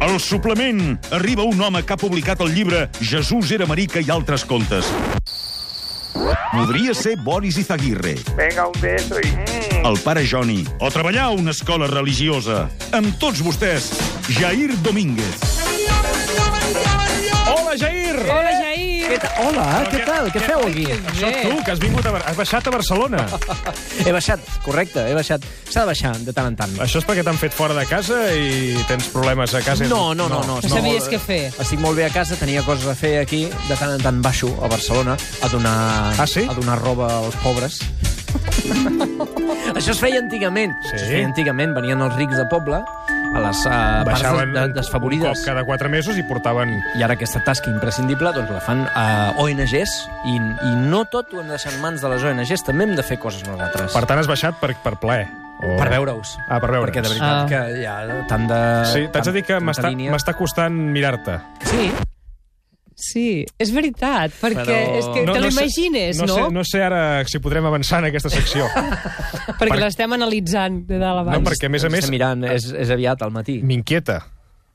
El suplement. Arriba un home que ha publicat el llibre Jesús era marica i altres contes. Podria ser Boris Izaguirre, Venga, un beso y... mm. el pare Joni, o treballar a una escola religiosa. Amb tots vostès, Jair Domínguez. Hola, Jair! Hola, Jair! Què ta- Hola, què tal? Què feu aquí? Això tu, que has, vingut a... Bar- has baixat a Barcelona. He baixat, correcte, he baixat. S'ha de baixar de tant en tant. Això és perquè t'han fet fora de casa i tens problemes a casa. No, no, no. no, No estic sabies molt- què fer. Estic molt bé a casa, tenia coses a fer aquí. De tant en tant baixo a Barcelona a donar, Ah, sí? a donar roba als pobres. Això es feia antigament. Sí? Això es feia antigament. Venien els rics de poble a les uh, parts de, Baixaven de, un- un desfavorides. cop cada quatre mesos i portaven... I ara aquesta tasca imprescindible doncs, la fan uh, ONGs i, i no tot ho hem de deixar en mans de les ONGs. També hem de fer coses nosaltres. Per tant, has baixat per, per plaer. O... Per veure-us. Ah, per veure'ns. Perquè de veritat Ah. que hi ha tant de... Sí, t'haig de dir que tanta m'està línia. m'està costant mirar-te. Sí, Sí, és veritat, perquè Però- és que te l'imagines, no? no? Sé, no sé ara si podrem avançar en aquesta secció. Perquè per- l'estem analitzant de dalt a baix. no, perquè, a més a Ens més, estem mirant, és, és aviat al matí. m'inquieta.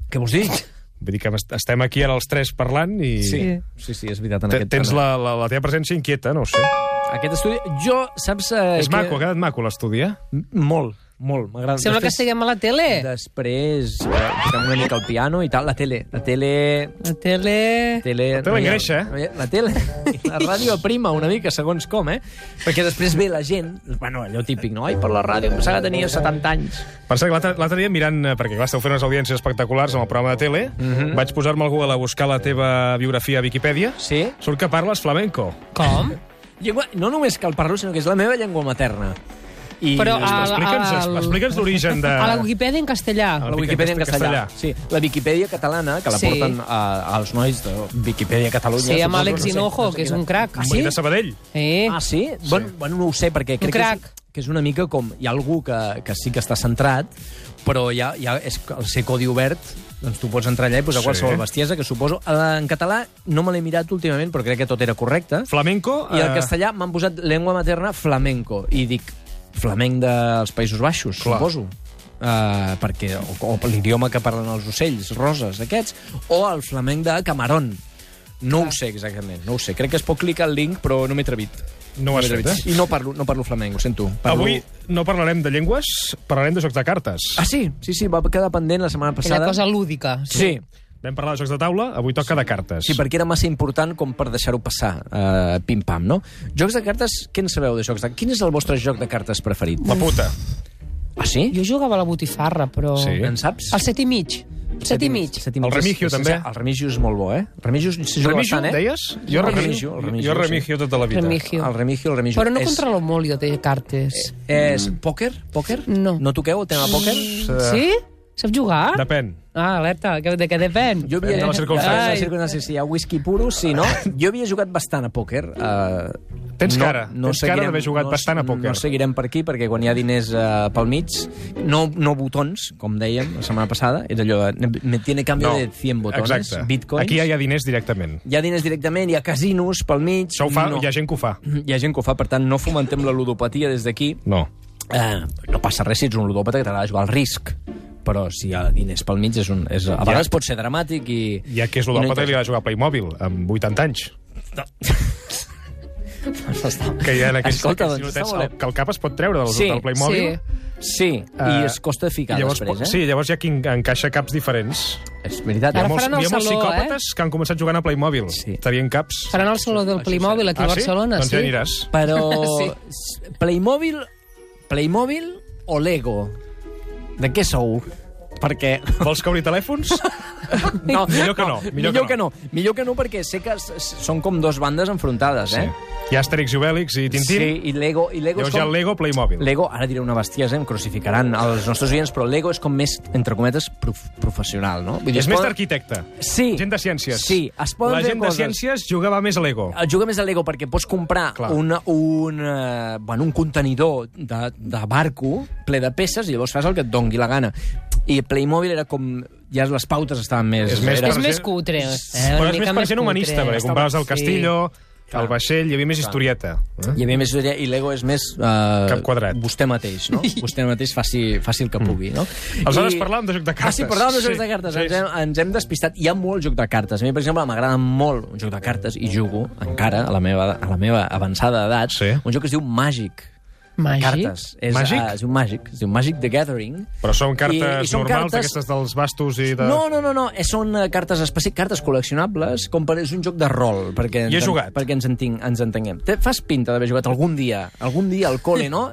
Què vols dir? Vull dir que m'est- estem aquí ara els tres parlant i... Sí. sí, sí és veritat. En Te- aquest Tens tema. la, la, la teva presència inquieta, no ho sé. Aquest estudi... Jo, saps... Eh, És maco, ha quedat maco l'estudi, eh? M- Molt, molt. M'agrada. Sembla que estiguem a la tele. Després, eh, toquem una mica el piano i tal. La tele, la tele... La tele... Tele, La tele no hi ha- engreixa, eh? no hi ha- La tele, la ràdio aprima una mica, segons com, eh? Perquè després ve la gent, bueno, allò típic, no? Ai, per la ràdio, em pensava que tenia 70 anys. Per cert, l'altre l'altre dia mirant, eh, perquè clar, esteu fent unes audiències espectaculars amb el programa de tele, vaig posar-me al Google a buscar la teva biografia a Viquipèdia. Sí? Surt que parles flamenco. Com? Llengua, no només que el parlo, sinó que és la meva llengua materna. I Però ah, a, a- Explica'ns el- explica'ns l'origen de... A la Wikipedia en castellà. A Ah. la Viquipèdia en castellà. castellà. Sí, la Viquipèdia catalana, que la Sí. porten a, als nois de Viquipèdia Catalunya. Sí, amb suposo, Àlex no sé, Hinojo, no sé que és quina- un crac. Ah, Sí? sí? de Sabadell. Eh? Ah, sí? sí. Bueno, bueno, no ho sé, perquè crec que crac. és, que és una mica com... Hi ha algú que, que sí que està centrat, però ja, ja és, el ser codi obert, doncs tu pots entrar allà i posar Sí. sí. qualsevol bestiesa, que suposo... eh, En català no me l'he mirat últimament, però crec que tot era correcte. Flamenco... I al eh, castellà m'han posat llengua materna flamenco. I dic flamenc dels Països Baixos, Clar. Clar. suposo. Uh, perquè, o, o per l'idioma que parlen els ocells, roses, aquests, o el flamenc de Camarón. No ho sé exactament, no ho sé. Crec que es pot clicar el link, però no m'he atrevit. No ho has m'he fet, atrevit. eh? I no parlo, no parlo flamenc, ho sento. Parlo... Avui no parlarem de llengües, parlarem de jocs de cartes. Ah, sí? Sí, sí, va quedar pendent la setmana Una passada. cosa lúdica. Sí. Vam parlar de jocs de taula, avui toca de cartes. Sí, perquè era massa important com per deixar-ho passar, uh, pim-pam, no? Jocs de cartes, què en sabeu de jocs de... Quin és el vostre joc de cartes preferit? La puta. Ah, sí? Jo jugava a la botifarra, però... Sí. En saps? Al set i mig. Set i mig. Set i mig El Remigio, és- és- també. El Remigio és molt bo, eh? El Remigio es- se juga Remigio, bastant, eh? deies? Jo remigio, El Remigio, el Remigio, jo remigio tota la vida. Remigio. El Remigio, el Remigio. Però no és, controlo molt jo de cartes. És pòquer? Pòquer? No. No toqueu el tema pòquer? Sí? Saps jugar? Depèn. Ah, alerta, que- de què depèn? Eh? Jo havia... Depèn de la circumstància. Ai. De la circumstància, si hi ha whisky puro, sí, no? Jo havia jugat bastant a pòquer. Uh, Tens cara, tens cara d'haver jugat no, bastant a pòquer. No seguirem per aquí, perquè quan hi ha diners uh, pel mig, no, no botons, com dèiem la setmana passada, és allò de... Me tiene cambio de 100 botones, Exacte. bitcoins. Aquí ja hi ha diners directament. hi ha diners directament, hi ha casinos pel mig... Això ho fa, no. hi ha gent que ho fa. Hi ha gent que ho fa, per tant, no fomentem la ludopatia des d'aquí. No. Eh, no passa res si ets un ludòpata que t'agrada jugar al risc. Però si hi ha diners pel mig, és un, és, a vegades pot ser dramàtic i... Hi ha qui és i no ludòpata i li interessa. va jugar a Playmobil amb 80 anys. Que hi ha en aquells Escolta, doncs, casinotets està molt bé. que el cap es pot treure del, Sí, del Playmobil. Sí, i Eh, es costa ficar llavors, després, eh? Sí, llavors hi ha qui en- encaixa caps diferents. És veritat. Ara Hi ha faran el hi ha molts eh? saló, psicòpates que han començat jugant a Playmobil. Sí. Tenien caps. Faran el saló del Plimòbil aquí a Barcelona, Doncs sí? ja aniràs. Però... Sí. s- Playmobil, Playmobil o Lego? De què sou? Perquè... Vols que obri telèfons? No, Millor que no, millor millor, que que, no. Millor que no, perquè sé que s- s- són com dos bandes enfrontades, eh? Hi ha Asterix i Obélix i Tintín. Sí, i Lego... I Lego és Llavors hi ha com- el Lego Playmobil. Lego, ara diré una bestiesa, em crucificaran els nostres oients, però Lego és com més, entre cometes, prof professional, no? Vull És es més poden- d'arquitecte. Sí. Gent de ciències. Sí, es poden La fer gent coses. de ciències jugava més a Lego. El juga més a Lego perquè pots comprar Clar. un, un, eh, bueno, un contenidor de, de barco ple de peces i llavors fas el que et dongui la gana. I Playmobil era com... Ja les pautes estaven més... És més era, És més cutre. Eh? Una Però és mica més per gent cutre. humanista, perquè Estava- compraves el sí. Castillo, el vaixell, hi havia més historieta. Eh? Hi havia més idea, i l'ego és més... Eh, Cap quadrat. Mm. Vostè mateix, no? vostè mateix faci, faci el que pugui, no? Aleshores parlàvem de joc de Ah, sí, cartes. parlàvem de joc Sí, de cartes. sí, Ens, hem, ens hem despistat. Hi ha molt joc de cartes. A mi, per exemple, m'agrada molt un joc de cartes, i jugo encara, a la meva, a la meva avançada edat, Sí. un joc que es diu Màgic. Màgic? Cartes. És, Màgic? ah, es diu Màgic. Es diu Màgic the Gathering. Però són cartes I- i són normals, cartes- aquestes dels bastos i de... No, no, no, no. eh, són eh, cartes específiques, cartes col·leccionables, com per, és un joc de rol, Hi perquè he ens, en- jugat. perquè ens, entenc, ens entenguem. Te, fas pinta d'haver jugat algun dia, algun dia al col·le, no?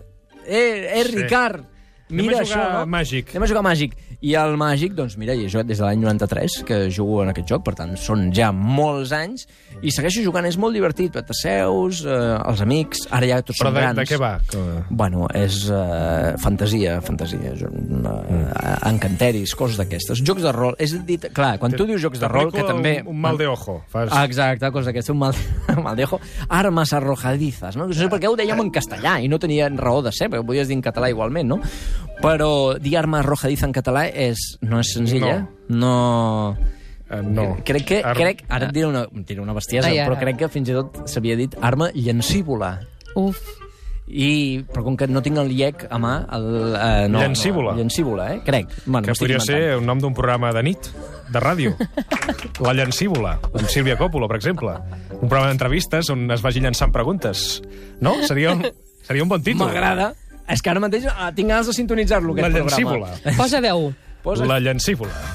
Eh, eh, Ricard, Anem a mira jugar això, a no? Màgic. Anem a jugar a Màgic. I el Màgic, doncs mira, hi he jugat des de l'any 93, que jugo en aquest joc, per tant, són ja molts anys, i segueixo jugant, és molt divertit, t'asseus, eh, els amics, ara ja tots Però són de, grans. de què va? Que- Bueno, és uh, fantasia, fantasia, jo- una, mm. encanteris, coses d'aquestes. Jocs de rol, és a dir, clar, quan tu dius jocs de rol, que T'aplico també... Un, un mal de ojo. Fas... Ah, Exacte, coses d'aquestes, un mal, un mal de ojo. Armes arrojadizas, no? No sé per què ho dèiem en castellà i no tenia raó de ser, perquè ho podies dir en català igualment, no? Però dir arma arrojadiza en català és, no és senzilla. No. no... Eh, no. Crec que... Ar- Crec, ara et diré una, et diré una bestiesa, Ai, ara. però crec que fins i tot s'havia dit arma llancívola. Uf. I, però com que no tinc el IEC a mà... El, eh, no, Llancívola. No, llancívola, eh? Crec. Bueno, Que m'estic podria inventant. ser un nom d'un programa de nit, de ràdio. La llancívola, amb Sílvia Coppola, per exemple. Un programa d'entrevistes on es vagi llançant preguntes. No? Seria un, seria un bon títol. M'agrada. És que ara mateix ah, tinc ganes de sintonitzar-lo, La aquest programa. llancívola. Posa 10. Posa... La llancívola.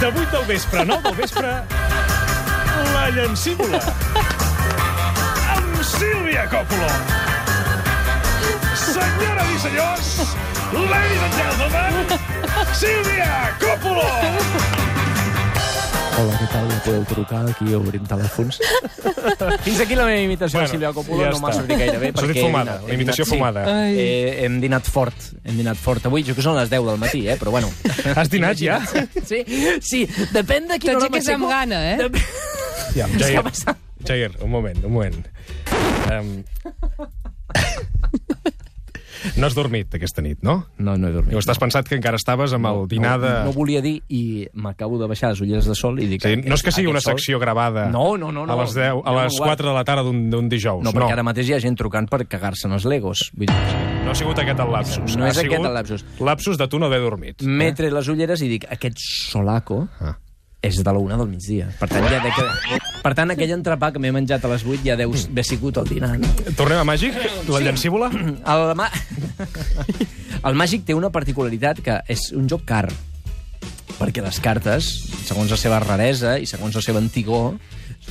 De 8 del vespre, a 9 del vespre, la llancívola. Amb Sílvia Coppola. Senyores i senyors, ladies and gentlemen, Sílvia Coppola! Hola, què tal? Podeu trucar aquí obrint telèfons? Fins aquí la meva imitació Bueno, de Sílvia Coppola. ja no m'ha està. sortit gaire Ha bé. sortit perquè he fumada, dinat- la imitació he dinat- fumada. Sí. Ai. Eh, hem dinat fort, hem dinat fort. Avui, jo que són les 10 del matí, eh? però bueno. Has dinat ja? Sí, sí, depèn de quina hora T'aixeques amb gana, eh? Dep... Ja, Jair. Jair, Jair, un moment, un moment. Um... No has dormit aquesta nit, no? No, no he dormit. Diu, estàs pensat que encara estaves amb el dinar de... No, no volia dir, i m'acabo de baixar les ulleres de sol i dic... Sí, no és que sigui aquest una sol- secció gravada No, no, no, no. a les, 10, a Ja les m'ho guardo. 4 de la tarda d'un d'un dijous. No, perquè no. ara mateix hi ha gent trucant per cagar-se en els legos. Vull dir, no ha sigut aquest el lapsus. No ha és aquest sigut el lapsus. Mm. Lapsus de tu no haver dormit. m'he tret les ulleres i dic, aquest solaco Ah. és de la una del migdia. Per tant, ja de que... per tant aquell entrepà que m'he menjat a les 8 ja deu haver sigut el dinar. No? Tornem a Màgic? La llancívola? El, mà... el màgic té una particularitat que és un joc car perquè les cartes, segons la seva raresa i segons el seu antigor,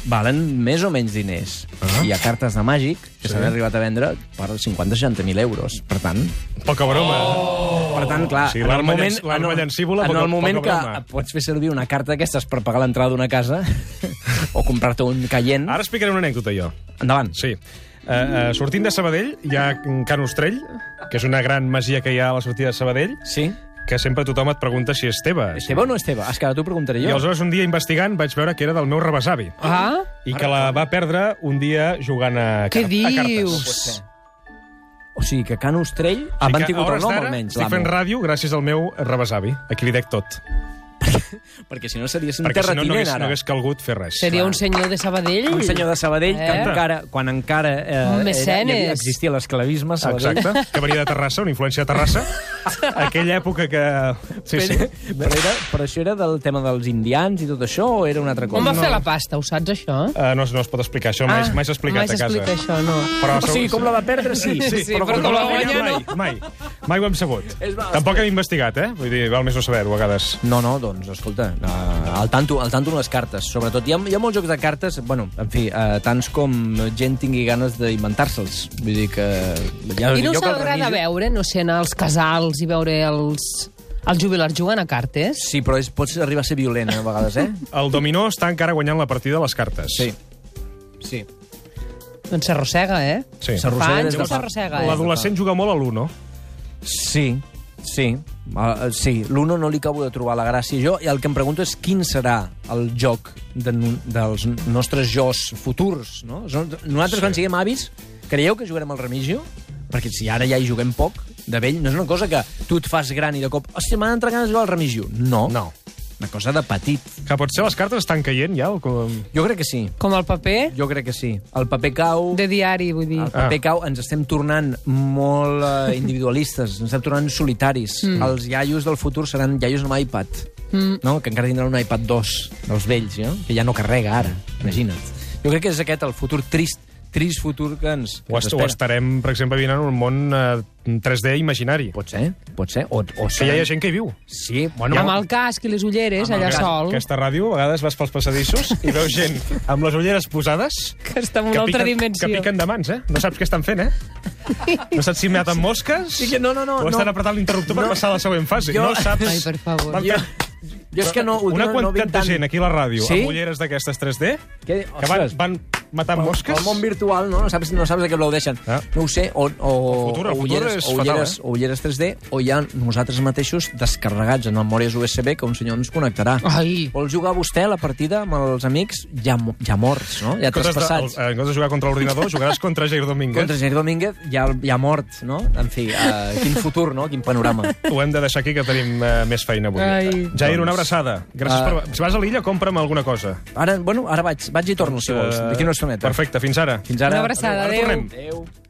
valen més o menys diners. Ah. Hi ha cartes de màgic que s'han arribat a vendre per 50-60.000 euros. Per tant, Poca broma. Oh. per tant, clar, Oh. Sí, en el l'arma moment, llanc- l'arma en el- llancívola, en poca- el moment poca que broma. pots fer servir una carta d'aquestes per pagar l'entrada d'una casa o comprar-te un caient... Ara explicaré una anècdota, jo. Endavant. Sí. Uh, uh, sortint de Sabadell, hi ha Can Ostrell, que és una gran masia que hi ha a la sortida de Sabadell, Sí? que sempre tothom et pregunta si és teva. Esteve o no Esteve? És que ara t'ho preguntaré I jo. aleshores un dia investigant vaig veure que era del meu rebesavi Ah, i que la va perdre un dia jugant a, què car a cartes. dius? O sigui, que Can Ostrell ha Així que, a mantingut el hores nom, d'ara, almenys, Estic fent l'amo. ràdio gràcies al meu rebesavi, a qui li dec tot. Perquè si no series un Perquè si no, no terratinent, hagués, ara. no hagués calgut fer res. Seria un senyor de Sabadell? Un senyor de Sabadell, eh? que Eh? encara, quan encara eh, Un era, mecenes. hi havia, existia l'esclavisme, a Sabadell... Exacte, que venia de Terrassa, una influència de Terrassa. Aquella època que... Sí, sí. Però, però, era, però això era del tema dels indians i tot això, o era una altra cosa? On va fer la pasta, ho saps, això? Uh, no, es- no es pot explicar, això mai, Ah, mai s'ha explicat mai a casa. s'explica això, no. Però O sigui, com la va perdre, sí. Sí, Sí, però com la guanya, mai, mai, mai ho hem sabut. És va- Tampoc hem investigat, eh? Vull dir, val més no saber-ho a vegades. No, no, doncs, escolta, eh, al tanto, al tanto amb les cartes, sobretot. Hi ha, hi ha molts jocs de cartes, bueno, en fi, eh, tants com gent tingui ganes d'inventar-se'ls. Vull dir que... Ja, I no jo us que el agrada reviso- veure, no sé, anar als casals i veure els, els jubilars jugant a cartes? Sí, però és, pots arribar a ser violent, eh, a vegades, eh? El dominó està encara guanyant la partida a les cartes. Sí. Sí. Doncs s'arrossega, eh? sí. Fa S'arrossega anys des de que fa- s'arrossega, eh? L'adolescent juga molt a l'1. Sí, sí. Uh, sí, l'Uno no li acabo de trobar la gràcia. Jo, i el que em pregunto és quin serà el joc de, nu- dels nostres jocs futurs, no? Són- Nosaltres, sí. quan siguem avis, creieu que jugarem al Remigio? Perquè si ara ja hi juguem poc, de vell, no és una cosa que tu et fas gran i de cop, hòstia, m'han entrat ganes de jugar al Remigio. No. No. Una cosa de petit. Que potser les cartes estan caient ja? O com... Jo crec que sí. Com el paper Jo crec que sí. El paper cau... de diari, vull dir. Ah, El paper cau, ens estem tornant molt eh, individualistes, ens estem tornant solitaris. Mm. Els iaios del futur seran iaios amb iPad, mm. no? que encara tindran un iPad 2 dels vells, no? que ja no carrega ara, imagina't. Jo crec que és aquest el futur trist, trist futur que ens, que O, ens est o espera. estarem, per exemple, vivint en un món eh, 3D imaginari. Pot ser, pot ser. O, o Que ja hi ha gent que hi viu. Sí, bueno, No, amb el casc i les ulleres, allà Aquest- sol, que, Aquesta ràdio, a vegades vas pels passadissos i veus gent amb les ulleres posades està en una altra dimensió. que piquen de mans, eh? No saps què estan fent, eh? No saps si maten mosques Sí que no, no, no, o estan no. apretant l'interruptor per No. passar a la següent fase. Jo- No saps... Ai, per favor. Van fer- jo és que no... Una últimament quantitat no vinc de tant. gent aquí a la ràdio Sí? amb ulleres d'aquestes 3D Que, que van, van matant mosques. El món virtual, no? No saps, no saps a què aplaudeixen. Ah. No ho sé, o, o, El futur- el o futur ulleres, és o ulleres, fatal, eh? o ulleres 3D, o hi ha nosaltres mateixos descarregats en memòries USB que un senyor ens connectarà. Ai. Vol jugar vostè a la partida amb els amics ja, mo- ja morts, no? Ja En comptes de- traspassats. el- eh, en comptes de jugar contra l'ordinador, jugaràs contra Jair Domínguez. Contra Jair Domínguez ja, ja mort, no? En fi, uh, quin futur, no? Quin panorama. Ho hem de deixar aquí, que tenim eh, més feina avui. Ai. Jair, una abraçada. Gràcies Doncs- Ah. per... Si vas a l'illa, compra'm alguna cosa. Ara, bueno, ara vaig, vaig i torno, si vols. D'aquí una estoneta. Doncs, eh, Perfecte, fins ara. Fins ara. Una abraçada, Ara adéu. tornem. Adéu.